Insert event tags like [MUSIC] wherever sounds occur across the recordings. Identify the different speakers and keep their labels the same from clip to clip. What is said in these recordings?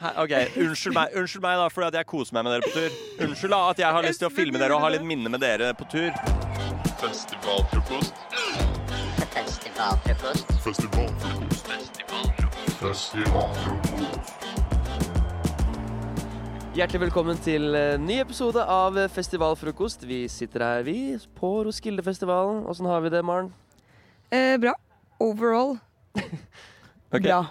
Speaker 1: Hæ, OK, unnskyld meg, unnskyld meg da for at jeg koser meg med dere på tur. Unnskyld da at jeg har lyst til å filme dere og ha litt minne med dere på tur.
Speaker 2: Festivalfrokost.
Speaker 3: Festivalfrokost.
Speaker 2: Festivalfrokost. Festivalfrokost.
Speaker 4: Hjertelig velkommen til eh, ny episode av eh, Festivalfrokost. Vi sitter her, vi, på Roskildefestivalen. Åssen har vi det, Maren?
Speaker 5: Eh, bra. Overall
Speaker 1: Ok.
Speaker 5: bra.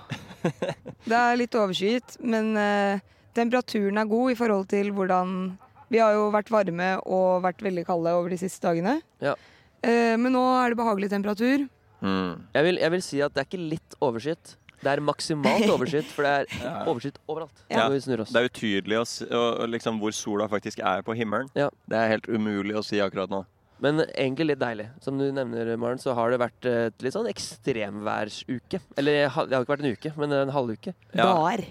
Speaker 5: Det er litt overskyet, men eh, temperaturen er god i forhold til hvordan Vi har jo vært varme og vært veldig kalde over de siste dagene.
Speaker 4: Ja.
Speaker 5: Eh, men nå er det behagelig temperatur.
Speaker 1: Mm.
Speaker 4: Jeg vil, jeg vil si at det er ikke litt overskyet. Det er
Speaker 5: [LAUGHS]
Speaker 4: maksimalt overskyet, for det er overskyet overalt.
Speaker 5: Ja.
Speaker 4: Når vi snur oss.
Speaker 1: Det er utydelig å si, og, og liksom, hvor sola faktisk er på himmelen.
Speaker 4: Ja.
Speaker 1: Det er helt umulig å si akkurat nå.
Speaker 4: Men egentlig litt deilig. Som du nevner, Maren, så har det vært eh, et litt sånn ekstremværsuke. Eller ha- det har ikke vært en uke, men en halvuke.
Speaker 1: Ja.
Speaker 5: Dager.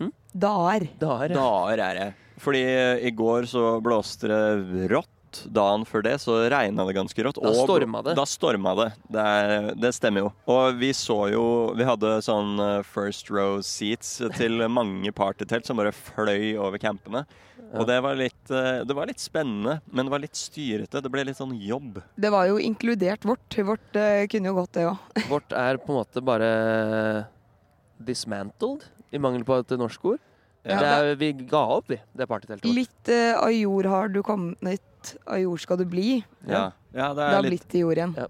Speaker 4: Hm?
Speaker 5: Dager.
Speaker 4: Dager. ja.
Speaker 1: Dager er det. Fordi eh, i går så blåste det rått. Dagen før det så regna det ganske rått.
Speaker 4: Da storma det.
Speaker 1: Da storma det. Det, er, det stemmer jo. Og vi så jo Vi hadde sånn eh, first row seats til mange partytelt som bare fløy over campene. Og det var, litt, eh, det var litt spennende, men det var litt styrete. Det ble litt sånn jobb.
Speaker 5: Det var jo inkludert vårt. Vårt eh, kunne jo gått, det òg.
Speaker 4: Vårt er på en måte bare dismantled, i mangel på et norsk ord.
Speaker 1: Ja.
Speaker 4: Det er, vi ga opp, vi, det partyteltet vårt.
Speaker 5: Litt eh, av jord har du kommet, av jord skal du bli.
Speaker 1: Ja, ja det,
Speaker 5: Det har
Speaker 1: er litt,
Speaker 5: blitt i jord igjen.
Speaker 4: Ja.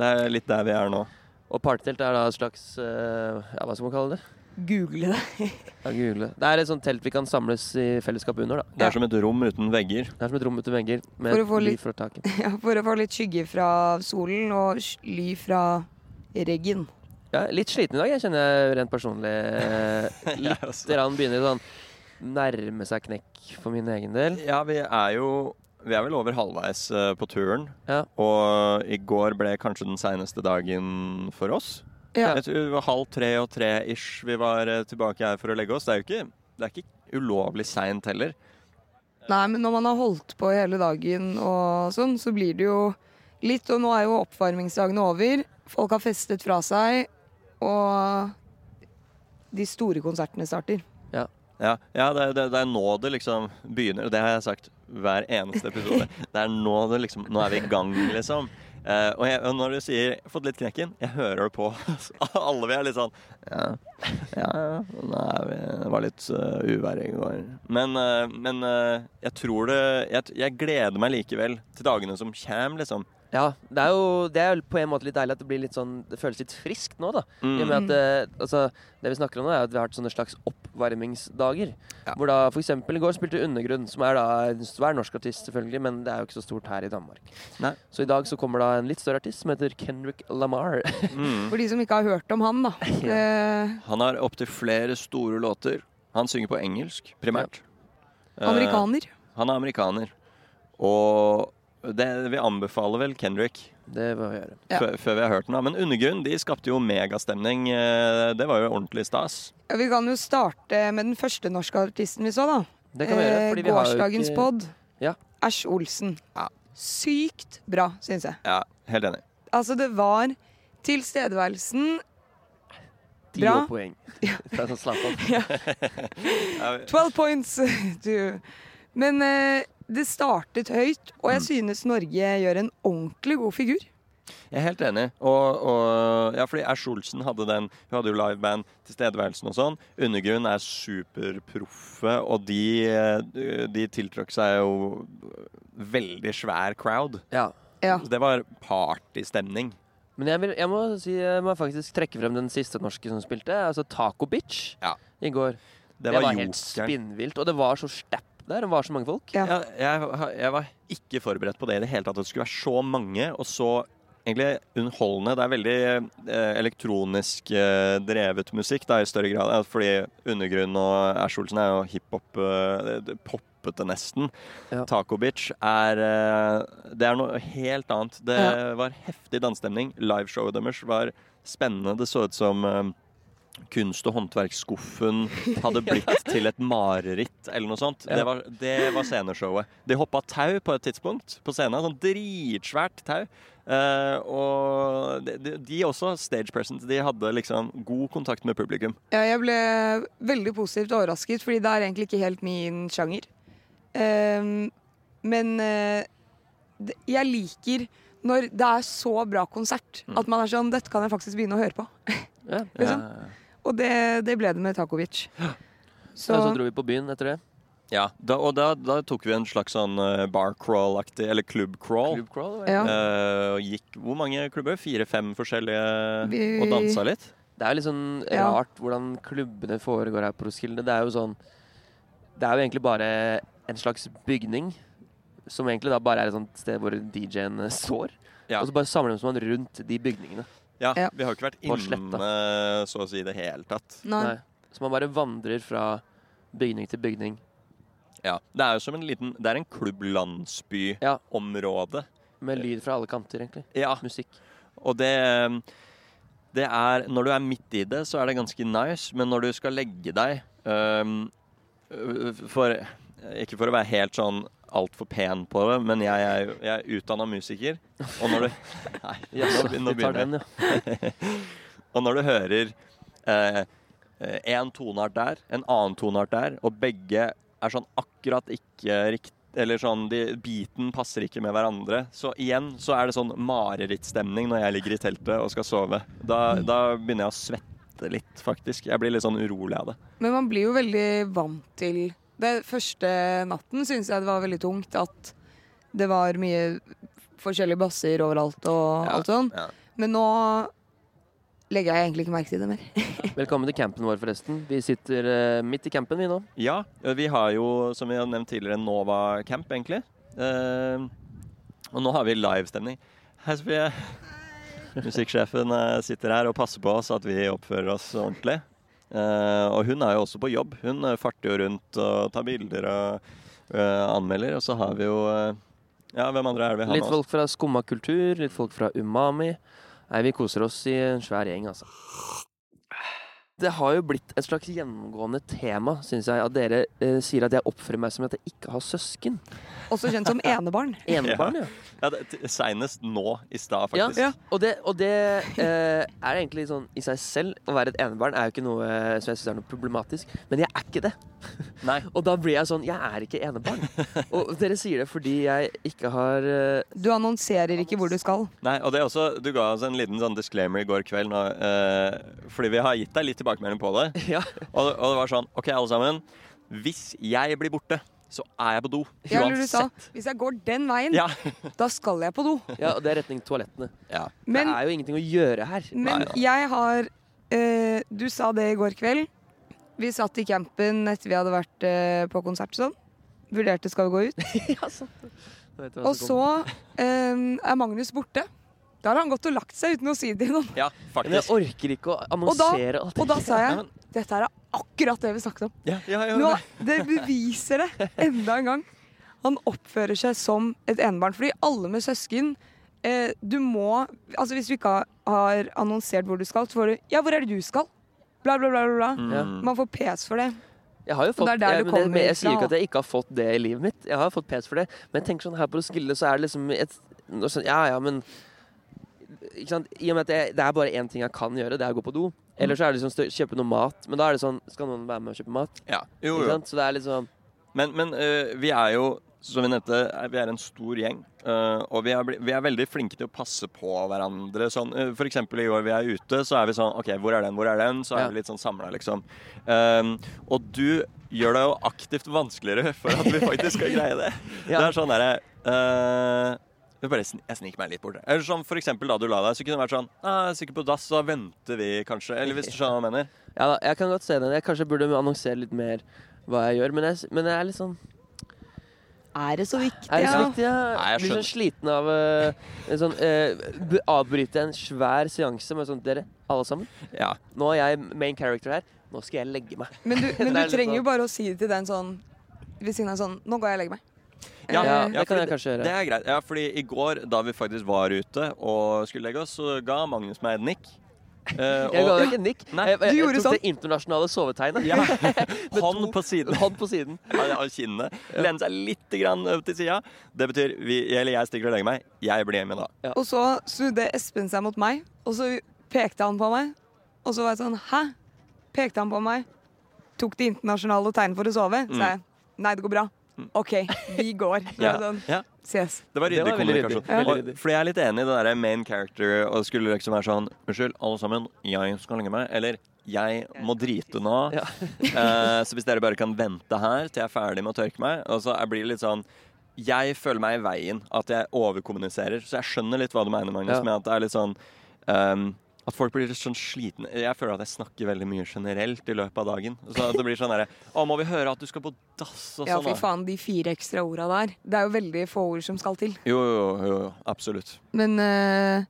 Speaker 1: det er litt der vi er nå.
Speaker 4: Og partelt er da et slags eh, Ja, hva skal man kalle det?
Speaker 5: Google det.
Speaker 4: Ja, google. Det er et sånt telt vi kan samles i fellesskap under. da
Speaker 1: Det er som et rom uten vegger.
Speaker 4: Det er som et rom uten vegger. Med
Speaker 5: For å få
Speaker 4: et liv
Speaker 5: litt-
Speaker 4: fra taket.
Speaker 5: Ja, for å få litt skygge fra solen og sj- ly fra reggen.
Speaker 4: Ja, litt sliten i dag, jeg kjenner jeg rent
Speaker 5: [LAUGHS]
Speaker 4: personlig. eh,
Speaker 1: Jeg
Speaker 4: Litt
Speaker 1: også.
Speaker 4: grann begynner sånn nærme seg knekk for min egen del.
Speaker 1: Ja, vi er jo Vi er vel over halvveis eh, på turen.
Speaker 4: Ja.
Speaker 1: Og i går ble kanskje den seneste dagen for oss.
Speaker 5: Ja.
Speaker 1: Jeg tror det var halv tre og tre ish vi var eh, tilbake her for å legge oss. Det er jo ikke, det er ikke ulovlig seint heller.
Speaker 5: Nei, men når man har holdt på hele dagen og sånn, så blir det jo litt Og nå er jo oppvarmingsdagene over. Folk har festet fra seg, og de store konsertene starter.
Speaker 1: Ja, ja det, er- det, det er nå det liksom begynner. og Det har jeg sagt hver eneste [LAUGHS] episode. Det er nå det liksom Nå er vi i gang, liksom. Eh, og, jeg, og når du sier 'fått litt knekken', jeg hører det på alle. Vi er litt sånn Ja, ja, ja, nå er vi, det var litt uh, uvær i går. Men, eh, men eh, jeg tror det jeg, t- jeg gleder meg likevel til dagene som kommer, liksom.
Speaker 4: Ja, det er jo det er jo på en måte litt deilig at det blir litt sånn Det føles litt friskt nå, da. I og
Speaker 5: Mm.
Speaker 4: med at det, altså, det vi snakker om nå, er at vi har hatt sånne slags oppvarmingsdager. Hvor da for eksempel i går spilte Undergrunn, som er da en svær norsk artist, selvfølgelig, men det er jo ikke så stort her i Danmark.
Speaker 1: Nei.
Speaker 4: Så i dag så kommer da en litt større artist som heter Kendrick Lamar. [LAUGHS] Mm.
Speaker 5: For de som ikke har hørt om han, da. Eh,
Speaker 1: Han har opptil flere store låter. Han synger på engelsk, primært. Eh,
Speaker 5: amerikaner.
Speaker 1: Han er amerikaner. Og det, vi anbefaler vel Kendrick
Speaker 4: det bør vi gjøre.
Speaker 5: Ja.
Speaker 1: før, før vi har hørt den. da. Men Undergrunn de skapte jo megastemning. Eh, Det var jo ordentlig stas.
Speaker 5: Ja, vi kan jo starte med den første norske artisten vi så, da.
Speaker 4: Det kan vi gjøre.
Speaker 5: Eh,
Speaker 4: Fordi vi har jo
Speaker 5: Gårsdagens
Speaker 4: ikke-
Speaker 5: pod.
Speaker 4: Ja.
Speaker 5: Æsj Olsen.
Speaker 1: Ja.
Speaker 5: Sykt bra, syns jeg.
Speaker 1: Ja, Helt enig.
Speaker 5: Altså, det var tilstedeværelsen
Speaker 4: Ti
Speaker 5: Bra.
Speaker 4: år
Speaker 5: [LAUGHS]
Speaker 4: poeng. [LAUGHS] Det er sånn slapp av.
Speaker 5: 12 points! [LAUGHS] Du. Men eh, det startet høyt, og
Speaker 4: Mm.
Speaker 5: jeg synes Norge gjør en ordentlig god figur.
Speaker 1: Jeg er helt enig. Og, og ja, fordi Ash Olsen hadde den. Hun hadde jo liveband, tilstedeværelsen og sånn. Undergrunn er superproffe, og de, eh, de tiltrakk seg jo veldig svær crowd.
Speaker 4: Ja.
Speaker 5: Ja.
Speaker 1: Så det var partystemning.
Speaker 4: Men jeg, vil, jeg må si jeg må faktisk trekke frem den siste norske som spilte, altså Taco Bitch,
Speaker 1: Ja.
Speaker 4: i går.
Speaker 1: Det
Speaker 4: Det
Speaker 1: var,
Speaker 4: var,
Speaker 1: jokeren.
Speaker 4: helt spinnvilt, og det var så stapp der. Det var så mange folk.
Speaker 5: Ja.
Speaker 1: Ja, jeg, jeg var ikke forberedt på det i det hele tatt. At det skulle være så mange og så egentlig underholdende. Det er veldig eh, elektronisk eh, drevet musikk da, i større grad. eh, Fordi Undergrunn og Ash Olsen er jo hiphop eh, det- det poppete nesten.
Speaker 4: Ja.
Speaker 1: Taco Bitch er eh, Det er noe helt annet. Det
Speaker 5: Ja.
Speaker 1: var heftig dansestemning. Liveshowet deres var spennende. Det så ut som eh, kunst- og håndverksskuffen hadde blitt til et mareritt, eller noe sånt.
Speaker 4: Ja.
Speaker 1: Det, var, det var sceneshowet. De hoppa tau på et tidspunkt på scenen. Sånn dritsvært tau. Eh, og de, de, de også, stage presence, de hadde liksom god kontakt med publikum.
Speaker 5: Ja, jeg ble veldig positivt overrasket, fordi det er egentlig ikke helt min sjanger. Ehm, men eh, det- jeg liker når det er så bra konsert at man er sånn Dette kan jeg faktisk begynne å høre på.
Speaker 4: Mm. Ja.
Speaker 5: Liksom.
Speaker 1: Eh,
Speaker 5: Og det, det ble det med Takovic.
Speaker 4: Så, så
Speaker 5: Så
Speaker 4: dro vi på byen etter det.
Speaker 1: ja, da, og da, da tok vi en slags sånn eh, bar crawl-aktig, eller club crawl.
Speaker 4: Club crawl, var det?
Speaker 5: ja.
Speaker 1: Eh, og gikk hvor mange klubber? Fire-fem forskjellige?
Speaker 5: Vi-
Speaker 1: Og dansa litt?
Speaker 4: Det er jo litt sånn
Speaker 5: Ja.
Speaker 4: rart hvordan klubbene foregår her på Roskilde. Det er jo sånn Det er jo egentlig bare en slags bygning. Som egentlig da bare er et sånt sted hvor DJ-en står.
Speaker 1: Ja.
Speaker 4: Og så bare samler man seg rundt de bygningene.
Speaker 1: Ja,
Speaker 5: Ja.
Speaker 1: vi har jo ikke vært
Speaker 4: På sletta.
Speaker 1: inne så å si i det hele tatt.
Speaker 5: nei.
Speaker 4: Nei. Så man bare vandrer fra bygning til bygning.
Speaker 1: Ja, Det er jo som en liten Det er en klubblandsbyområde.
Speaker 4: Ja.
Speaker 1: område
Speaker 4: Med lyd fra alle kanter, egentlig.
Speaker 1: ja,
Speaker 4: Musikk.
Speaker 1: og det det er, Når du er midt i det, så er det ganske nice, men når du skal legge deg øhm, øh, For Ikke for å være helt sånn altfor pen på det, men jeg er, jo- jeg er utdanna musiker, og når
Speaker 4: [LAUGHS]
Speaker 1: du Nei,
Speaker 4: Jaså,
Speaker 1: nå, nå
Speaker 4: vi tar
Speaker 1: begynner jeg.
Speaker 4: den, ja.
Speaker 1: Og når du hører eh, eh, en toneart der, en annen toneart der, og begge er sånn akkurat ikke riktig eller sånn, de, Biten passer ikke med hverandre. Så igjen så er det sånn marerittstemning når jeg ligger i teltet og skal sove. Da, da begynner jeg å svette litt, faktisk. Jeg blir litt sånn urolig av det.
Speaker 5: Men man blir jo veldig vant til det. Første natten syns jeg det var veldig tungt at det var mye forskjellige basser overalt og alt sånn.
Speaker 1: Ja.
Speaker 5: Men nå legger jeg egentlig ikke merke til det
Speaker 1: [LAUGHS]
Speaker 5: mer.
Speaker 4: Velkommen til campen vår, forresten. Vi sitter eh, midt i campen, vi nå.
Speaker 1: Ja, eh, vi har jo, som vi har nevnt tidligere, Nova Camp, egentlig. Eh, og nå har vi livestemning. Hei, Sofie. Musikksjefen eh, sitter her og passer på oss at vi oppfører oss ordentlig. Eh, og hun er jo også på jobb. Hun eh, farter jo rundt og tar bilder og eh, anmelder. Og så har vi jo eh, Ja, hvem andre er det vi har
Speaker 4: Litt
Speaker 1: med oss?
Speaker 4: folk fra Skumma kultur, litt folk fra Umami. Nei, vi koser oss i en svær gjeng, altså. Det har jo blitt et slags gjennomgående tema, syns jeg, at dere eh, sier at jeg oppfører meg som at jeg ikke har søsken.
Speaker 5: Også kjent som enebarn.
Speaker 4: Enebarn, ja.
Speaker 1: Ja, det- t- Seinest nå i stad,
Speaker 4: ja.
Speaker 1: faktisk.
Speaker 4: Og det, og det eh, er egentlig sånn i seg selv. Å være et enebarn er jo ikke noe eh, som jeg syns er noe problematisk, men jeg er ikke det.
Speaker 1: Nei.
Speaker 4: Og da blir jeg sånn Jeg er ikke enebarn. Og dere sier det fordi jeg ikke har eh, [LAUGHS]
Speaker 5: Du annonserer ikke hvor du skal.
Speaker 1: Nei, og det er også, Du ga oss en liten sånn disclaimer i går kveld, nå, eh, fordi vi har gitt deg litt tilbakemelding på det.
Speaker 4: Ja.
Speaker 1: Og, og det var sånn OK, alle sammen. Hvis jeg blir borte, så er jeg på do.
Speaker 5: Ja, eller du sa, hvis jeg går den veien,
Speaker 1: Ja.
Speaker 5: da skal jeg på
Speaker 1: [LAUGHS]
Speaker 5: do.
Speaker 4: ja, og det er retning toalettene.
Speaker 1: ja.
Speaker 5: Men,
Speaker 4: det er jo ingenting å gjøre her.
Speaker 5: men
Speaker 1: Nei, nei.
Speaker 5: jeg har eh, Du sa det i går kveld. Vi satt i campen etter vi hadde vært eh, på konsert og sånn. Vurderte skal vi gå ut.
Speaker 4: ja, sant. Da vet du hva
Speaker 5: Og så
Speaker 4: som kommer.
Speaker 5: eh, er Magnus borte. Da har han gått og lagt seg uten å si det til noen.
Speaker 1: ja,
Speaker 4: Men jeg
Speaker 1: faktisk.
Speaker 4: orker ikke å
Speaker 5: Og da,
Speaker 4: annonsere alt.
Speaker 5: og da sa
Speaker 1: Ja,
Speaker 5: jeg
Speaker 1: men-
Speaker 5: dette her er akkurat det vi snakket om.
Speaker 1: Ja, ja, ja,
Speaker 5: Nå, det beviser det enda en gang. Han oppfører seg som et enebarn. Fordi alle med søsken eh, Du må Altså Hvis du ikke har, har annonsert hvor du skal, så får du 'Ja, hvor er det du skal?' Bla, bla, bla. bla, bla.
Speaker 4: Ja.
Speaker 1: Mm.
Speaker 5: Man får pes for det.
Speaker 4: Jeg har jo fått,
Speaker 5: det er der
Speaker 4: jeg,
Speaker 5: du
Speaker 4: men det-
Speaker 5: kommer
Speaker 4: men jeg
Speaker 5: fra,
Speaker 4: sier ikke
Speaker 5: da.
Speaker 4: at jeg ikke har fått det i livet mitt. Jeg har fått pes for det. Men jeg tenker sånn her på Roskilde, så er det liksom et noe sånn, Ja ja, men ikke sant? I og med at jeg, det er bare én ting jeg kan gjøre, det er å gå på do. Eller så er det liksom stø- kjøpe noe mat. Men da er det sånn Skal noen være med og kjøpe mat?
Speaker 1: ja. Jo,
Speaker 4: Ikke
Speaker 1: jo.
Speaker 4: sant? Så det er liksom
Speaker 1: Men, men eh, vi er jo, som vi nevnte, er- vi er en stor gjeng. eh, og vi er, bli- vi er veldig flinke til å passe på hverandre. Sånn, eh, for eksempel i år vi er ute, så er vi sånn OK, hvor er den, hvor er den? Så er
Speaker 4: Ja.
Speaker 1: vi litt sånn samla, liksom. Um, og du gjør det jo aktivt vanskeligere for at vi faktisk skal greie det. Det
Speaker 4: [LAUGHS] Ja.
Speaker 1: er sånn derre eh, jeg bare sn- jeg sniker meg litt bort. Eller sånn, for eksempel da du la deg, så kunne det vært sånn ah, jeg er sikker på dass, så da venter vi kanskje. Eller hvis du skjønner hva jeg mener.
Speaker 4: Ja da, jeg kan godt se den. Jeg kanskje burde annonsere litt mer hva jeg gjør. Men jeg, men jeg er litt sånn
Speaker 5: Er det så viktig?
Speaker 4: Er det så
Speaker 5: Ja.
Speaker 4: viktig? Ja?
Speaker 1: Nei, jeg
Speaker 4: Blir sånn sliten av eh, en sånn, eh, b- Avbryte en svær seanse med sånn Dere, alle sammen.
Speaker 1: Ja.
Speaker 4: Nå er jeg main character her. Nå skal jeg legge meg.
Speaker 5: Men du,
Speaker 4: Det
Speaker 5: men du
Speaker 4: er litt
Speaker 5: trenger jo
Speaker 4: sånn.
Speaker 5: bare å si det til den sånn ved siden av sånn 'Nå går jeg og legger meg'.
Speaker 1: Ja,
Speaker 4: Ja,
Speaker 1: ja,
Speaker 4: det kan
Speaker 1: fordi
Speaker 4: jeg kanskje
Speaker 1: Det
Speaker 4: gjøre.
Speaker 1: er greit. Ja, fordi i går, da vi faktisk var ute og skulle legge oss, så ga Magnus meg et nikk. Eh,
Speaker 4: [LAUGHS] Jeg ga
Speaker 1: og
Speaker 4: deg ikke nikk.
Speaker 1: Nei.
Speaker 4: Jeg, jeg,
Speaker 5: Du
Speaker 4: jeg
Speaker 5: gjorde sånn.
Speaker 4: tok det internasjonale
Speaker 1: [LAUGHS]
Speaker 4: sovetegnet.
Speaker 1: Ja.
Speaker 4: [LAUGHS] Med
Speaker 1: hånd
Speaker 4: to-
Speaker 1: på siden
Speaker 4: Hånd på siden.
Speaker 1: av kinnet. Lene seg litt grann over til sida. Det betyr vi, eller jeg stikker og legger meg. Jeg blir hjemme da.
Speaker 5: Og så snudde Espen seg mot meg, og så pekte han på meg. Og så var jeg sånn Hæ? Pekte han på meg? Tok det internasjonale tegnet for å sove? Så jeg Nei, det går bra. OK,
Speaker 1: [LAUGHS]
Speaker 5: vi går. Så jeg sånn,
Speaker 1: Mm. Ja.
Speaker 5: Ses.
Speaker 1: Det var
Speaker 4: Det
Speaker 1: ryddig
Speaker 4: var veldig
Speaker 1: kommunikasjon.
Speaker 4: ryddig. Ja.
Speaker 1: Og-
Speaker 4: Veldig ryddig.
Speaker 1: Fordi jeg er litt enig i det derre main character og skulle liksom være sånn Unnskyld, alle sammen, jeg skal legge meg. Eller jeg må drite nå.
Speaker 4: Ja.
Speaker 1: [LAUGHS] Eh, så hvis dere bare kan vente her til jeg er ferdig med å tørke meg. Og så jeg blir litt sånn Jeg føler meg i veien. At jeg overkommuniserer. Så jeg skjønner litt hva du mener, Magnus,
Speaker 4: Ja.
Speaker 1: med at det er litt sånn ehm, at folk blir litt sånn slitne. Jeg føler at jeg snakker veldig mye generelt i løpet av dagen. Så at det blir sånn derre Å, må vi høre at du skal på dass og
Speaker 5: Ja,
Speaker 1: sånn?
Speaker 5: fy
Speaker 1: da?»
Speaker 5: faen, de fire ekstra orda der. Det er jo veldig få ord som skal til.
Speaker 1: Jo, jo, jo, jo. Absolutt.
Speaker 5: Men eh,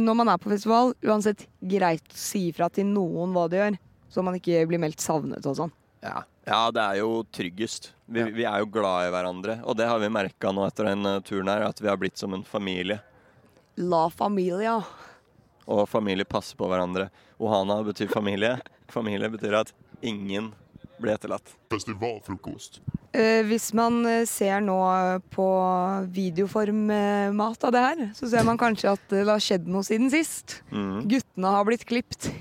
Speaker 5: når man er på festival, uansett greit å si ifra til noen hva de gjør, så man ikke blir meldt savnet og sånn.
Speaker 1: Ja. ja, det er jo tryggest. Vi, vi er jo glad i hverandre. Og det har vi merka nå etter den eh, turen her, at vi har blitt som en familie.
Speaker 5: La familia.
Speaker 1: Og familie passer på hverandre. Ohana betyr familie. [LAUGHS] Familie betyr at ingen blir etterlatt.
Speaker 2: Festivalfrokost.
Speaker 5: Eh, hvis man eh, ser nå på videoformmat av det her, så ser man kanskje at det har skjedd noe siden sist.
Speaker 1: Mhm,
Speaker 5: Guttene har blitt klipt.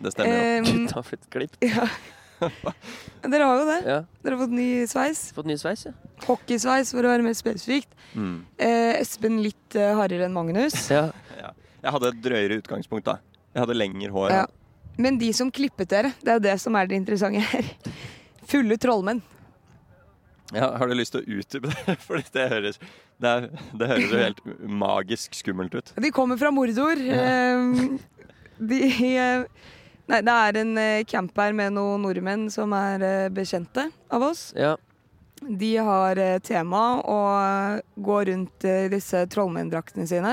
Speaker 1: det stemmer jo.
Speaker 5: Eh,
Speaker 4: Ta et klipp.
Speaker 5: dere har jo det.
Speaker 4: Ja.
Speaker 5: Dere har fått ny sveis.
Speaker 4: Fått ny sveis, ja.
Speaker 5: Hockeysveis, for å være mer spesifikt.
Speaker 1: Mm.
Speaker 5: Eh, Espen litt eh, hardere enn Magnus.
Speaker 4: ja.
Speaker 1: Ja. Jeg hadde et drøyere utgangspunkt, da. Jeg hadde lengre hår.
Speaker 5: Ja. Men de som klippet dere, det er jo det som er det interessante her. Fulle trollmenn.
Speaker 1: Ja, har du lyst til å utdype det? [LAUGHS] Fordi det høres, det, er, det høres jo helt magisk skummelt ut.
Speaker 5: De kommer fra mordor. Eh, De eh, Nei, det er en eh, camp her med noen nordmenn som er eh, bekjente av oss.
Speaker 4: ja.
Speaker 5: De har eh, tema og eh, går rundt eh, disse trollmenndraktene sine.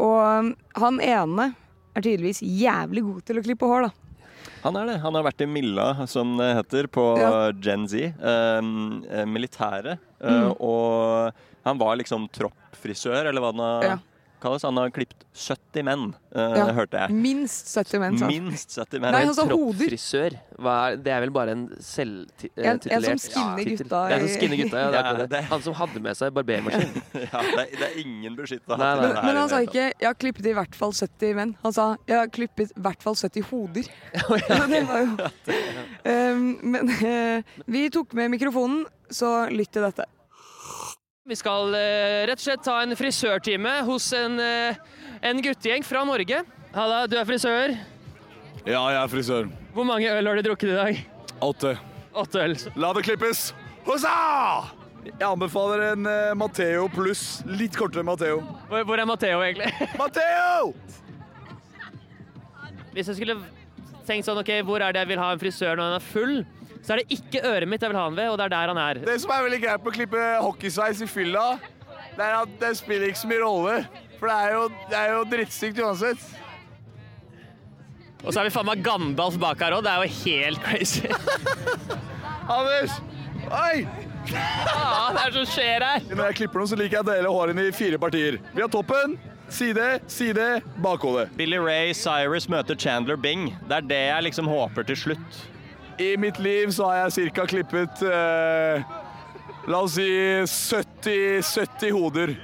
Speaker 5: Og eh, han ene er tydeligvis jævlig god til å klippe hår, da.
Speaker 1: Han er det. Han har vært i Milla, som det heter, på
Speaker 5: Ja.
Speaker 1: eh, Gen Z. Um, eh, militæret. Eh,
Speaker 5: Mm.
Speaker 1: Og han var liksom troppfrisør, eller hva den har
Speaker 5: Ja.
Speaker 1: kalles. Han har klippet 70 menn, eh,
Speaker 5: Ja. Mm,
Speaker 1: hørte jeg.
Speaker 5: Minst 70 menn, sa han.
Speaker 1: Minst 70 menn.
Speaker 5: Nei, altså hoder.
Speaker 4: Frisør. Hva er, det er vel bare en eh,
Speaker 5: En, en som
Speaker 4: selvtitulert
Speaker 5: skinner
Speaker 4: tittel.
Speaker 5: gutta
Speaker 4: Det er som skinner gutta, ja. Det er
Speaker 1: Ja,
Speaker 4: akkurat det.
Speaker 1: det-
Speaker 4: Han som hadde med seg barbermaskin.
Speaker 1: [LAUGHS] ja, det, er, det er ingen beskytta.
Speaker 4: Nei, nei,
Speaker 5: Men, men han sa ikke 'jeg har klippet i hvert fall 70 menn'. Han sa 'jeg har klippet i hvert fall 70 [LAUGHS] hoder'. Så det var jo um, Men eh, vi tok med mikrofonen, så lytt til dette.
Speaker 3: [LAUGHS] Vi skal eh, rett og slett ta en frisørtime hos en, eh, en guttegjeng fra Norge. Halla, du er frisør.
Speaker 6: Ja, jeg er frisør.
Speaker 3: Hvor mange øl har du drukket i dag?
Speaker 6: Åtte.
Speaker 3: Åtte øl.
Speaker 6: La det klippes! Hussa! Jeg anbefaler en eh, Matteo pluss litt kortere Matteo.
Speaker 3: Hvor hvor er Matheo egentlig?
Speaker 6: Matteo!
Speaker 3: [LAUGHS] Hvis jeg skulle tenkt sånn, ok, hvor er det jeg vil ha en frisør når han er full, så er det ikke øret mitt jeg vil ha han ved, og det er der han er.
Speaker 6: Det som er veldig greit med å klippe hockeysveis i fylla, det er at det spiller ikke så mye rolle. For det er jo, det er jo drittstygt uansett.
Speaker 3: Og så er vi faen meg Gandalf bak her òg, det er jo helt
Speaker 5: [LAUGHS]
Speaker 3: crazy.
Speaker 6: Anders! Oi!
Speaker 3: Hva er det som skjer her?
Speaker 6: Når jeg klipper noe, så liker jeg å dele håret inn i fire partier. Vi har toppen, side, side, bakhode.
Speaker 1: Billy Ray Cyrus møter Chandler Bing. Det er det jeg liksom håper til slutt.
Speaker 6: I mitt liv så har jeg ca. klippet eh, La oss si 70, 70 hoder.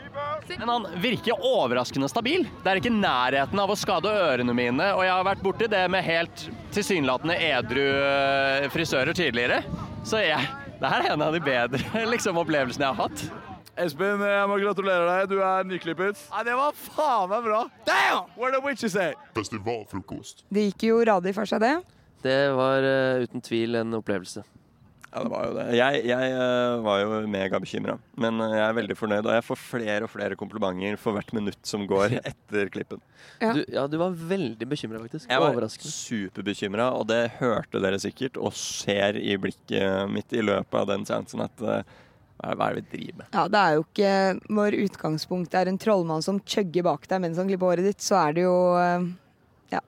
Speaker 1: Men han virker overraskende stabil. Det er ikke nærheten av å skade ørene mine, og jeg har vært borti det med helt tilsynelatende edru eh, frisører tidligere. Så jeg, det her er en av de bedre [LAUGHS] liksom, opplevelsene jeg har hatt.
Speaker 6: Espen, jeg må gratulere deg. Du er nyklippet. Ja, det var faen meg bra. Damn! Where the witches at?
Speaker 2: Festivalfrokost.
Speaker 5: Det gikk jo radig for seg, det.
Speaker 4: Det var eh, uten tvil en opplevelse.
Speaker 1: Ja, det var jo det. Jeg, jeg eh, var jo megabekymra, men eh, jeg er veldig fornøyd. Og jeg får flere og flere komplimenter for hvert minutt som går [LAUGHS] etter klippen.
Speaker 5: Ja.
Speaker 4: Du, ja, du var veldig bekymra, faktisk.
Speaker 1: Jeg var
Speaker 4: Overraskende.
Speaker 1: superbekymra, og det hørte dere sikkert, og ser i blikket mitt i løpet av den seansen at eh, hva er- hva er det vi driver med?
Speaker 5: Ja, Det er jo ikke Når utgangspunktet er en trollmann som chugger bak deg mens han klipper håret ditt, så er det jo eh,
Speaker 4: Det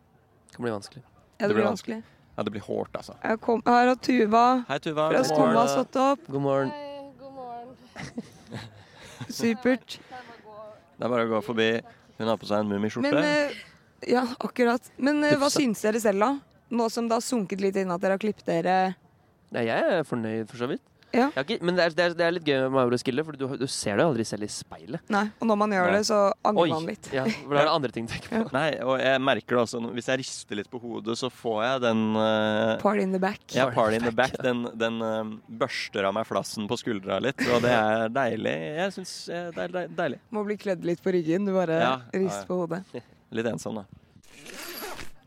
Speaker 4: kan bli vanskelig.
Speaker 5: Ja, det blir vanskelig.
Speaker 1: Ja, det blir hårt, altså.
Speaker 5: Jeg kom, her har Tuva
Speaker 1: Hei, Tuva.
Speaker 5: fra
Speaker 1: God morgen.
Speaker 5: Skumma stått opp.
Speaker 4: God morgen.
Speaker 7: Hei, god morgen.
Speaker 5: Supert. [LAUGHS]
Speaker 1: Det er bare å gå forbi. Hun har på seg en mummiskjorte.
Speaker 5: Men eh, Ja, akkurat. Men eh, hva
Speaker 4: Tipsa.
Speaker 5: syns dere selv, da? Nå som det har sunket litt inn at dere har klippet dere
Speaker 4: Nei, jeg er fornøyd, for så vidt.
Speaker 5: Ja.
Speaker 4: Jeg har ikke, men det er, det, er, det er litt gøy med Mauro-skillet, for du, du ser deg aldri selv i speilet.
Speaker 5: Nei. Og når man gjør
Speaker 1: Nei.
Speaker 5: det, så
Speaker 4: Oi!
Speaker 5: angrer man litt.
Speaker 4: Ja, for da er det andre ting du tenker på.
Speaker 1: Nei, og jeg merker det også. Hvis jeg rister litt på hodet, så får jeg den eh,
Speaker 5: Part in the back.
Speaker 1: ja, Party in the back. Den, den eh, børster av meg flassen på skuldra litt, og det er deilig. Jeg syns eh, det er deil- deilig.
Speaker 5: Må bli klødd litt på ryggen. Du bare
Speaker 1: Ja,
Speaker 5: rister
Speaker 1: ja.
Speaker 5: på hodet.
Speaker 1: Litt ensom, da.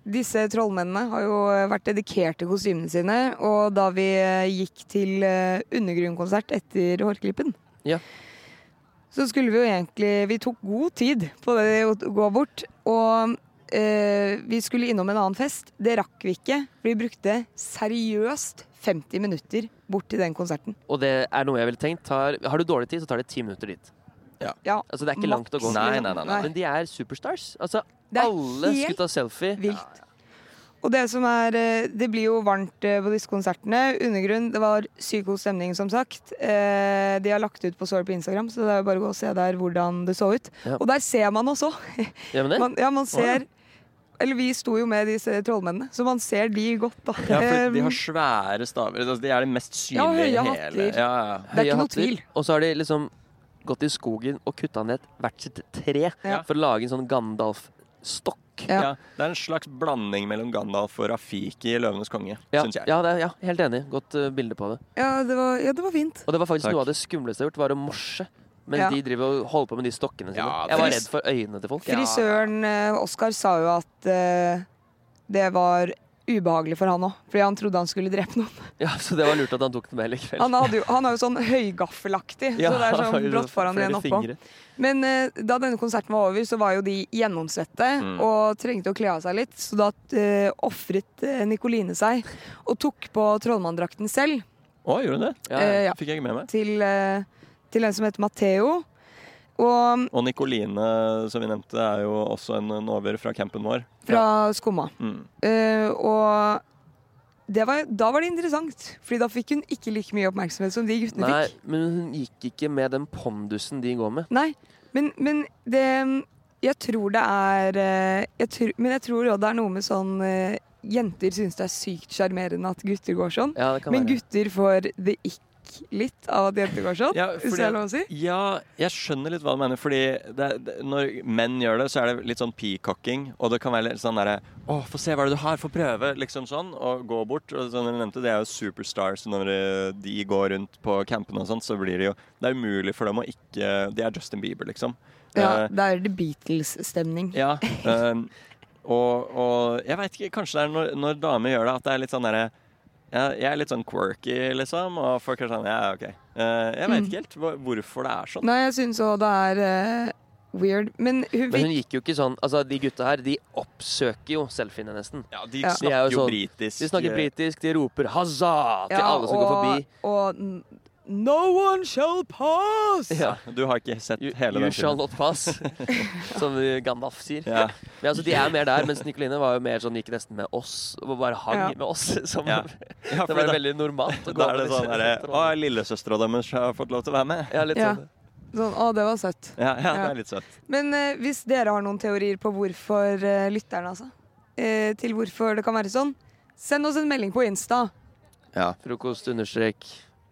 Speaker 5: Disse trollmennene har jo vært dedikert til kostymene sine, og da vi eh, gikk til eh, undergrunnkonsert etter Hårklippen,
Speaker 4: Ja.
Speaker 5: så skulle vi jo egentlig Vi tok god tid på det å gå bort, og eh, vi skulle innom en annen fest. Det rakk vi ikke, for vi brukte seriøst 50 minutter bort til den konserten.
Speaker 4: Og det er noe jeg ville tenkt. Tar, har du dårlig tid, så tar det ti minutter dit.
Speaker 5: Ja,
Speaker 4: Altså, det er ikke langt å gå.
Speaker 1: Nei, nei, nei, nei.
Speaker 4: Men de er superstars. Altså,
Speaker 5: Det er
Speaker 4: alle
Speaker 5: helt
Speaker 4: skulle ta selfie.
Speaker 5: Vilt. Og det som er eh, Det blir jo varmt eh, på disse konsertene. Undergrunn, det var sykt god stemning, som sagt. Eh, De har lagt ut på Soul på Instagram, så det er jo bare å gå og se der hvordan det så ut.
Speaker 4: Ja.
Speaker 5: Og der ser man også.
Speaker 4: Ja, men det?
Speaker 5: [LAUGHS] Man, ja, man ser Eller vi sto jo med disse trollmennene, så man ser de godt, da.
Speaker 1: Ja, for de
Speaker 5: Eh,
Speaker 1: har svære staver. Altså, de er de mest
Speaker 5: Ja,
Speaker 1: synlige
Speaker 5: høye
Speaker 1: i hele.
Speaker 5: hatter.
Speaker 1: Ja, ja.
Speaker 5: det er
Speaker 4: Høye
Speaker 5: ikke noe
Speaker 4: hatter.
Speaker 5: tvil.
Speaker 4: Og så har de liksom gått i skogen og kutta ned hvert sitt tre
Speaker 5: Ja.
Speaker 4: for å lage en sånn Gandalf-stokk.
Speaker 5: Ja.
Speaker 1: Ja, det er en slags blanding mellom Gandalf og Rafiki i 'Løvenes konge',
Speaker 4: Ja,
Speaker 1: syns jeg.
Speaker 4: ja, det er, ja, helt enig. Godt eh, bilde på det.
Speaker 5: Ja, det var, ja, det var fint.
Speaker 4: Og det var faktisk
Speaker 1: Takk.
Speaker 4: noe av det skumleste jeg har gjort, var å morse. Mens
Speaker 5: Ja.
Speaker 4: de driver og holder på med de stokkene sine.
Speaker 1: Ja,
Speaker 4: jeg var
Speaker 1: det-
Speaker 4: redd for øynene til folk.
Speaker 5: Frisøren eh, Oskar sa jo at eh, det var ubehagelig for han òg, fordi han trodde han skulle drepe noen.
Speaker 4: Ja, Så det var lurt at han tok det med likevel.
Speaker 5: Han, hadde jo, han er jo sånn høygaffelaktig,
Speaker 4: Ja,
Speaker 5: så det er
Speaker 4: [LAUGHS]
Speaker 5: sånn
Speaker 4: jo
Speaker 5: brått foran
Speaker 4: flere
Speaker 5: igjen oppå.
Speaker 4: fingre.
Speaker 5: Men eh, da denne konserten var over, så var jo de gjennomsvette
Speaker 4: Mm.
Speaker 5: og trengte å kle av seg litt. Så da uh, ofret eh, Nikoline seg og tok på trollmanndrakten selv
Speaker 1: Å, gjorde hun det?
Speaker 4: Ja,
Speaker 5: Eh,
Speaker 4: ja.
Speaker 5: ja.
Speaker 1: Fikk jeg ikke med meg.
Speaker 5: til, eh, til en som heter Matheo. Og
Speaker 1: Og Nikoline, som vi nevnte, er jo også en nover fra campen vår.
Speaker 5: fra Skumma.
Speaker 1: Mm.
Speaker 5: Eh, og det var, da var det interessant, Fordi da fikk hun ikke like mye oppmerksomhet som de guttene
Speaker 4: Nei,
Speaker 5: fikk.
Speaker 4: men hun gikk ikke med den pondusen de går med.
Speaker 5: Nei, men, men det Jeg tror det er eh, jeg tror, Men jeg tror også det er noe med sånn eh, Jenter syns det er sykt sjarmerende at gutter går sånn.
Speaker 4: Ja, det kan
Speaker 5: Men
Speaker 4: være.
Speaker 5: gutter får det ikk litt av at jenter går sånn,
Speaker 1: Ja,
Speaker 5: hvis
Speaker 1: fordi-
Speaker 5: det er lov å si.
Speaker 1: Ja, jeg skjønner litt hva du mener. Fordi det, det, når menn gjør det, så er det litt sånn peacocking. Og det kan være litt sånn derre Å, få se hva er det du har, få prøve! Liksom sånn. Og gå bort. Og som dere nevnte, det er jo superstars. og Når eh, de går rundt på campene og sånn, så blir det jo Det er umulig for dem å ikke De er Justin Bieber, liksom.
Speaker 5: Ja,
Speaker 1: Eh,
Speaker 5: det er The Beatles-stemning.
Speaker 1: ja.
Speaker 4: [LAUGHS]
Speaker 1: ehm, og, og jeg veit ikke, kanskje det er når, når damer gjør det, at det er litt sånn derre jeg, jeg er litt sånn quirky, liksom, og folk er sånn Ja, OK. Eh, jeg
Speaker 4: Mm.
Speaker 1: veit ikke helt hvor- hvorfor det er sånn.
Speaker 5: Nei, jeg syns òg det er eh, weird. Men hun
Speaker 4: Men hun
Speaker 5: fikk
Speaker 4: gikk jo ikke sånn Altså, de gutta her, de oppsøker jo selfiene nesten.
Speaker 1: Ja, de
Speaker 5: Ja.
Speaker 1: snakker
Speaker 4: De er jo
Speaker 1: jo,
Speaker 4: sånn-
Speaker 1: britisk.
Speaker 4: De snakker britisk, de roper 'hazza' til
Speaker 5: ja,
Speaker 4: alle som går forbi.
Speaker 5: Og, og n- No one shall pass!
Speaker 4: Ja.
Speaker 1: eh, Du har ikke sett
Speaker 4: You,
Speaker 1: hele
Speaker 4: you
Speaker 1: den
Speaker 4: shall
Speaker 1: filmen. [LAUGHS]
Speaker 4: not pass, som Gandalf sier.
Speaker 1: Ja.
Speaker 4: Men altså, De er mer der, mens Nikoline var jo mer sånn, gikk nesten med oss. Og bare hang
Speaker 5: Ja.
Speaker 4: med oss. [LAUGHS] Som,
Speaker 1: Ja. Ja,
Speaker 4: Det
Speaker 1: for
Speaker 4: var
Speaker 1: da-
Speaker 4: veldig normalt. å gå
Speaker 1: Da er
Speaker 4: med
Speaker 1: det
Speaker 4: disse
Speaker 1: sånn derre Å,
Speaker 4: restaurantene.
Speaker 1: lillesøstera deres har fått lov til å være med.
Speaker 4: Ja, litt
Speaker 5: Ja.
Speaker 4: sånn.
Speaker 5: Sånn, å, det var søtt.
Speaker 1: Ja, ja det
Speaker 5: Ja.
Speaker 1: er litt sånn. søtt.
Speaker 5: Men eh, hvis dere har noen teorier på hvorfor eh, lytterne, altså, eh, til hvorfor det kan være sånn, send oss en melding på Insta,
Speaker 4: Frokost understrek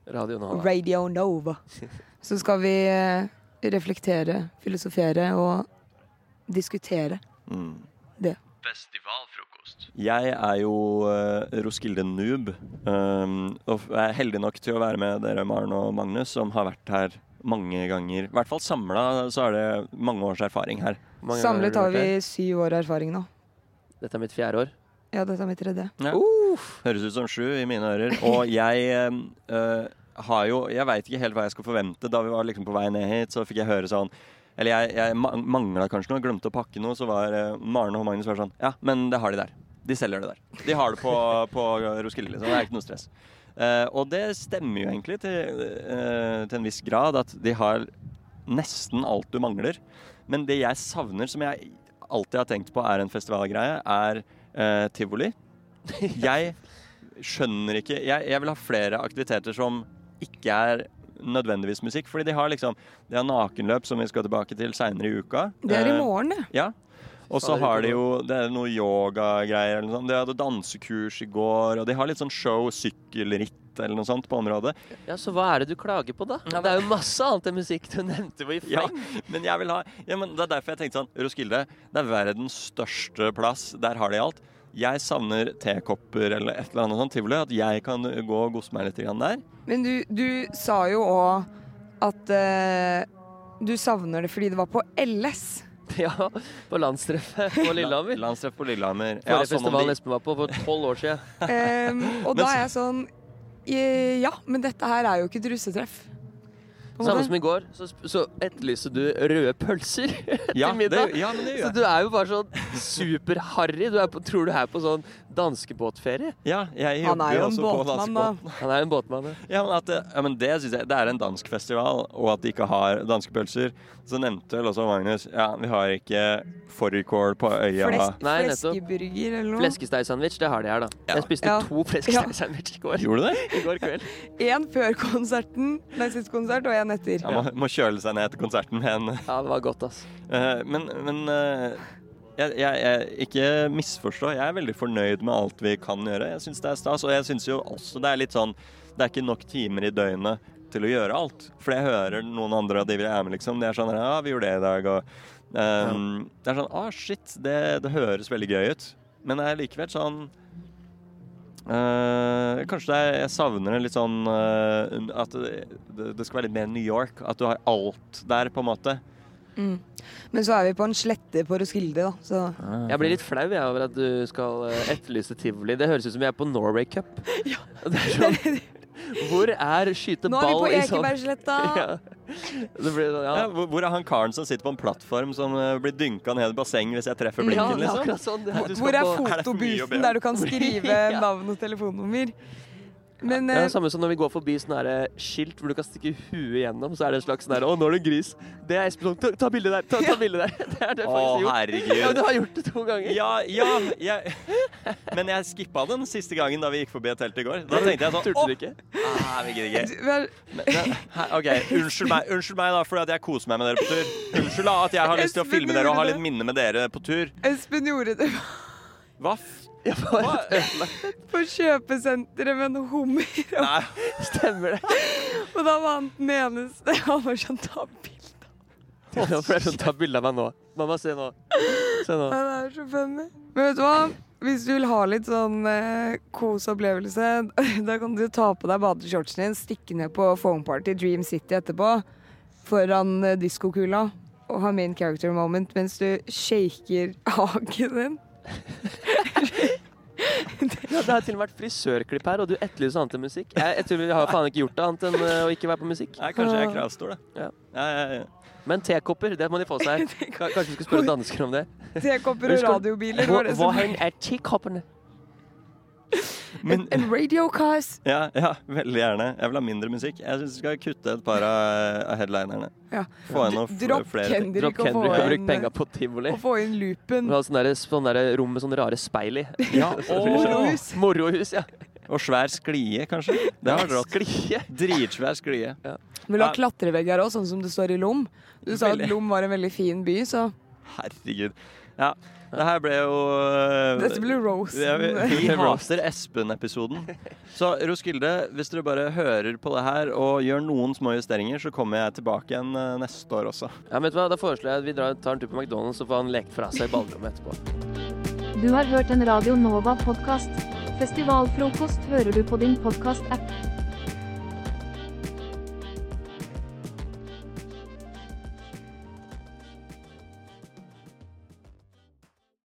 Speaker 4: Radio Nova.
Speaker 5: Radio Nova, så skal vi eh, reflektere, filosofere og diskutere.
Speaker 1: Mm.
Speaker 5: Det.
Speaker 1: Jeg er jo eh, Roskilde Noob, um, og jeg er heldig nok til å være med dere, Maren og Magnus, som har vært her mange ganger. I hvert fall samla så er det mange års erfaring her.
Speaker 4: Mange ganger
Speaker 5: Samlet
Speaker 4: har
Speaker 5: har
Speaker 4: du vært
Speaker 5: vi
Speaker 4: her.
Speaker 5: syv år erfaring nå.
Speaker 4: Dette er mitt fjerde år.
Speaker 5: Ja, dette er mitt tredje.
Speaker 1: Høres ut som sju i mine ører. Og jeg eh, eh, har jo Jeg veit ikke helt hva jeg skal forvente. Da vi var liksom på vei ned hit, så fikk jeg høre sånn Eller jeg, jeg mangla kanskje noe, glemte å pakke noe, så var eh, Maren og Magnus var sånn Ja, men det har de der. De selger det der. De har det på, på Roskilde, liksom. Det er ikke noe stress. Eh, og det stemmer jo egentlig til, eh, til en viss grad at de har nesten alt du mangler. Men det jeg savner, som jeg alltid har tenkt på er en festivalgreie, er eh, tivoli. Jeg skjønner ikke jeg, jeg vil ha flere aktiviteter som ikke er nødvendigvis musikk. Fordi de har liksom De har nakenløp, som vi skal tilbake til seinere i uka.
Speaker 5: Det er i
Speaker 1: Eh,
Speaker 5: morgen, det.
Speaker 1: ja. Og så har de jo det er noe yogagreier eller noe sånt. De hadde dansekurs i går, og de har litt sånn show, sykkelritt eller noe sånt på området.
Speaker 4: Ja, Så hva er det du klager på, da? Det er jo masse annet enn musikk du nevnte. Hvor i
Speaker 1: Ja, [LAUGHS]
Speaker 4: fleng. [LAUGHS]
Speaker 1: men jeg vil ha ja, men Det er derfor jeg tenkte sånn Roskilde, det er verdens største plass. Der har de alt. Jeg savner tekopper eller et eller annet sånt tivoli. At jeg kan gå og gosse meg litt grann der.
Speaker 5: Men du, du sa jo òg at eh, du savner det fordi det var på LS.
Speaker 4: Ja, på landstreffet på Lillehammer.
Speaker 1: Landstreff på Lillehammer. Ja,
Speaker 4: Forrige
Speaker 1: som om
Speaker 4: festivalen
Speaker 1: de-
Speaker 4: Espen var på for tolv år siden.
Speaker 5: Em, Ehm, og
Speaker 1: Men
Speaker 5: da
Speaker 1: så-
Speaker 5: er jeg sånn eh, Ja, men dette her er jo ikke et russetreff. På en
Speaker 4: Samme
Speaker 5: måte.
Speaker 4: som i går, så, sp- så etterlyste du røde pølser [LAUGHS]
Speaker 1: ja, det,
Speaker 4: til middag.
Speaker 1: ja, men det
Speaker 4: Så
Speaker 1: gjør jeg.
Speaker 4: du er jo bare sånn super-harry. Du er på, tror du er på sånn danskebåtferie.
Speaker 1: Ja, jeg
Speaker 5: Han
Speaker 1: jobber
Speaker 5: er jo en
Speaker 1: også på
Speaker 5: båtmann, da.
Speaker 1: Danskebåten.
Speaker 4: Han er jo en båtmann. ja.
Speaker 1: Ja, men at det, ja, men det synes jeg Det er en dansk festival, og at de ikke har danske pølser. Så nevnte vel også Magnus Ja, vi har ikke fårikål på øya.
Speaker 5: Flesk,
Speaker 4: Nei, nettopp.
Speaker 5: fleskeburger eller noe.
Speaker 4: Fleskesteigsandwich, det har de her, da.
Speaker 1: Ja.
Speaker 4: Jeg spiste
Speaker 5: Ja.
Speaker 4: to fleskesteigsandwich i går.
Speaker 1: Gjorde du det?
Speaker 4: I går kveld.
Speaker 5: Én før konserten, nei, siste konsert, og én etter.
Speaker 1: Ja, må, må kjøle seg ned etter konserten med en
Speaker 4: Ja, det var godt, ass.
Speaker 1: Eh, men men eh, jeg, jeg, jeg, ikke misforstå. Jeg er veldig fornøyd med alt vi kan gjøre. Jeg syns det er stas. Og jeg syns jo også det er litt sånn Det er ikke nok timer i døgnet til å gjøre alt. For jeg hører noen andre av de vi er med, liksom. De er sånn Ja, vi gjorde det i dag, og ehm, Det er sånn Ah, shit. Det, det høres veldig gøy ut. Men det er likevel sånn eh, kanskje det er, jeg savner en litt sånn eh, At det, det, det skal være litt mer New York. At du har alt der, på en måte.
Speaker 5: Men så er vi på en slette på Roskilde, da. Så
Speaker 4: Jeg blir litt flau jeg, over at du skal eh, etterlyse tivoli. Det høres ut som vi er på Norway
Speaker 5: [LAUGHS]
Speaker 4: Cup. Det er sånn, hvor er skyte
Speaker 5: nå er vi
Speaker 4: ball
Speaker 5: på
Speaker 4: i sånn
Speaker 5: Ekebergsletta!
Speaker 4: [LAUGHS] ja. Det blir sånn, ja.
Speaker 1: Ja, hvor, hvor er han karen som sitter på en plattform som eh, blir dynka ned i basseng hvis jeg treffer
Speaker 4: Ja,
Speaker 1: blinken,
Speaker 4: det er
Speaker 1: liksom?
Speaker 4: akkurat sånn. Det er, du skal
Speaker 5: Hvor er
Speaker 4: på-
Speaker 1: Er det for mye å be om?
Speaker 5: fotoboothen der du kan skrive
Speaker 4: [LAUGHS] Ja.
Speaker 5: navn og telefonnummer? Men
Speaker 4: Det er
Speaker 5: eh,
Speaker 4: det samme som når vi går forbi sånne her, eh, skilt hvor du kan stikke huet gjennom, så er det en slags sånn her, Å, nå er det en gris. Det er Espen sånn. Ta, ta bilde der. Ta, ta bilde der. [LAUGHS] Det er det
Speaker 1: Å,
Speaker 4: faktisk gjort. Ja, men
Speaker 1: herregud.
Speaker 4: du har gjort det to ganger.
Speaker 1: Ja, ja, jeg Men jeg skippa den siste gangen da vi gikk forbi et telt i går. Da tenkte jeg sånn
Speaker 4: Turte
Speaker 1: Å,
Speaker 4: du ikke?
Speaker 1: nei, vi gidder ikke.
Speaker 5: du- vel,
Speaker 1: Men, men, hæ, OK, unnskyld meg, unnskyld meg da for at jeg koser meg med dere på tur. Unnskyld da at jeg har lyst til å
Speaker 5: Espen
Speaker 1: filme dere og ha
Speaker 5: gjorde
Speaker 1: litt minne med dere på tur.
Speaker 5: Espen gjorde det [LAUGHS]
Speaker 1: Hva f...
Speaker 4: Jeg var
Speaker 1: Hva?
Speaker 4: helt ødelagt.
Speaker 5: på kjøpesenteret med noen hummer. Og,
Speaker 1: Nei.
Speaker 4: [LAUGHS] Stemmer det?
Speaker 5: og da var han den eneste. [LAUGHS] Han var sånn ta bilde.
Speaker 4: Nå får jeg sånn, ta bilde av meg nå. Mamma, se nå. Se nå.
Speaker 5: Han er så funny. Men vet du hva? Hvis du vil ha litt sånn eh, kos opplevelse, [LAUGHS] da kan du ta på deg badeshortsen din, stikke ned på foam party i Dream City etterpå, foran eh, diskokula, og ha main character moment mens du shaker [LAUGHS] haken din.
Speaker 4: Ja, det har til og med vært frisørklipp her, og du etterlyser annet enn musikk. Jeg, jeg tror vi har faen ikke gjort det annet enn eh, å ikke være på musikk.
Speaker 1: Nei, kanskje jeg er kravstor, da.
Speaker 4: Ja.
Speaker 1: Ja, ja, ja.
Speaker 4: Men tekopper, [LAUGHS] det må de få seg. Ka- Kanskje vi skal spørre dansker om [LAUGHS] det.
Speaker 5: Tekopper og radiobiler
Speaker 4: Hvor,
Speaker 5: var det
Speaker 4: hvor
Speaker 5: som
Speaker 4: hen er [LAUGHS] tekoppene?
Speaker 5: [LAUGHS]
Speaker 1: Men
Speaker 5: And radio cars.
Speaker 1: ja, ja, veldig gjerne. Jeg vil ha mindre musikk. Jeg syns vi skal kutte et par av eh, av headlinerne.
Speaker 5: Ja.
Speaker 1: Få inn noen fl-
Speaker 5: Dropp
Speaker 1: flere ting.
Speaker 5: Kendrick
Speaker 4: Drop
Speaker 5: og få
Speaker 4: Kendrick og bruk
Speaker 5: inn,
Speaker 4: penga på tivoli.
Speaker 5: og få inn loopen.
Speaker 4: Du har sånn der, sånn der rom med sånne rare speil [LAUGHS] i. Sånn liksom
Speaker 1: Ja,
Speaker 5: Morohus.
Speaker 4: Morohus, ja.
Speaker 1: Og svær sklie, kanskje. Det har dere hatt.
Speaker 4: Sklie.
Speaker 1: Dritsvær sklie.
Speaker 5: Vil du ha
Speaker 1: Ja.
Speaker 5: klatrevegger òg, sånn som det står i Lom? Du sa at
Speaker 1: Veldig.
Speaker 5: Lom var en veldig fin by, så
Speaker 1: Herregud. Ja, det her ble jo øh,
Speaker 5: dette blir Rose.
Speaker 1: ja, vi, vi
Speaker 4: Rosen.
Speaker 1: hater Espen-episoden. Så Roskilde, hvis dere bare hører på det her og gjør noen små justeringer, så kommer jeg tilbake igjen øh, neste år også.
Speaker 4: Ja, men vet du hva? Da foreslår jeg at vi drar, tar en tur på McDonald's og får han lekt fra seg i ballrommet etterpå.
Speaker 7: Du har hørt en Radio Nova-podkast. Festivalfrokost hører du på din podkast-app.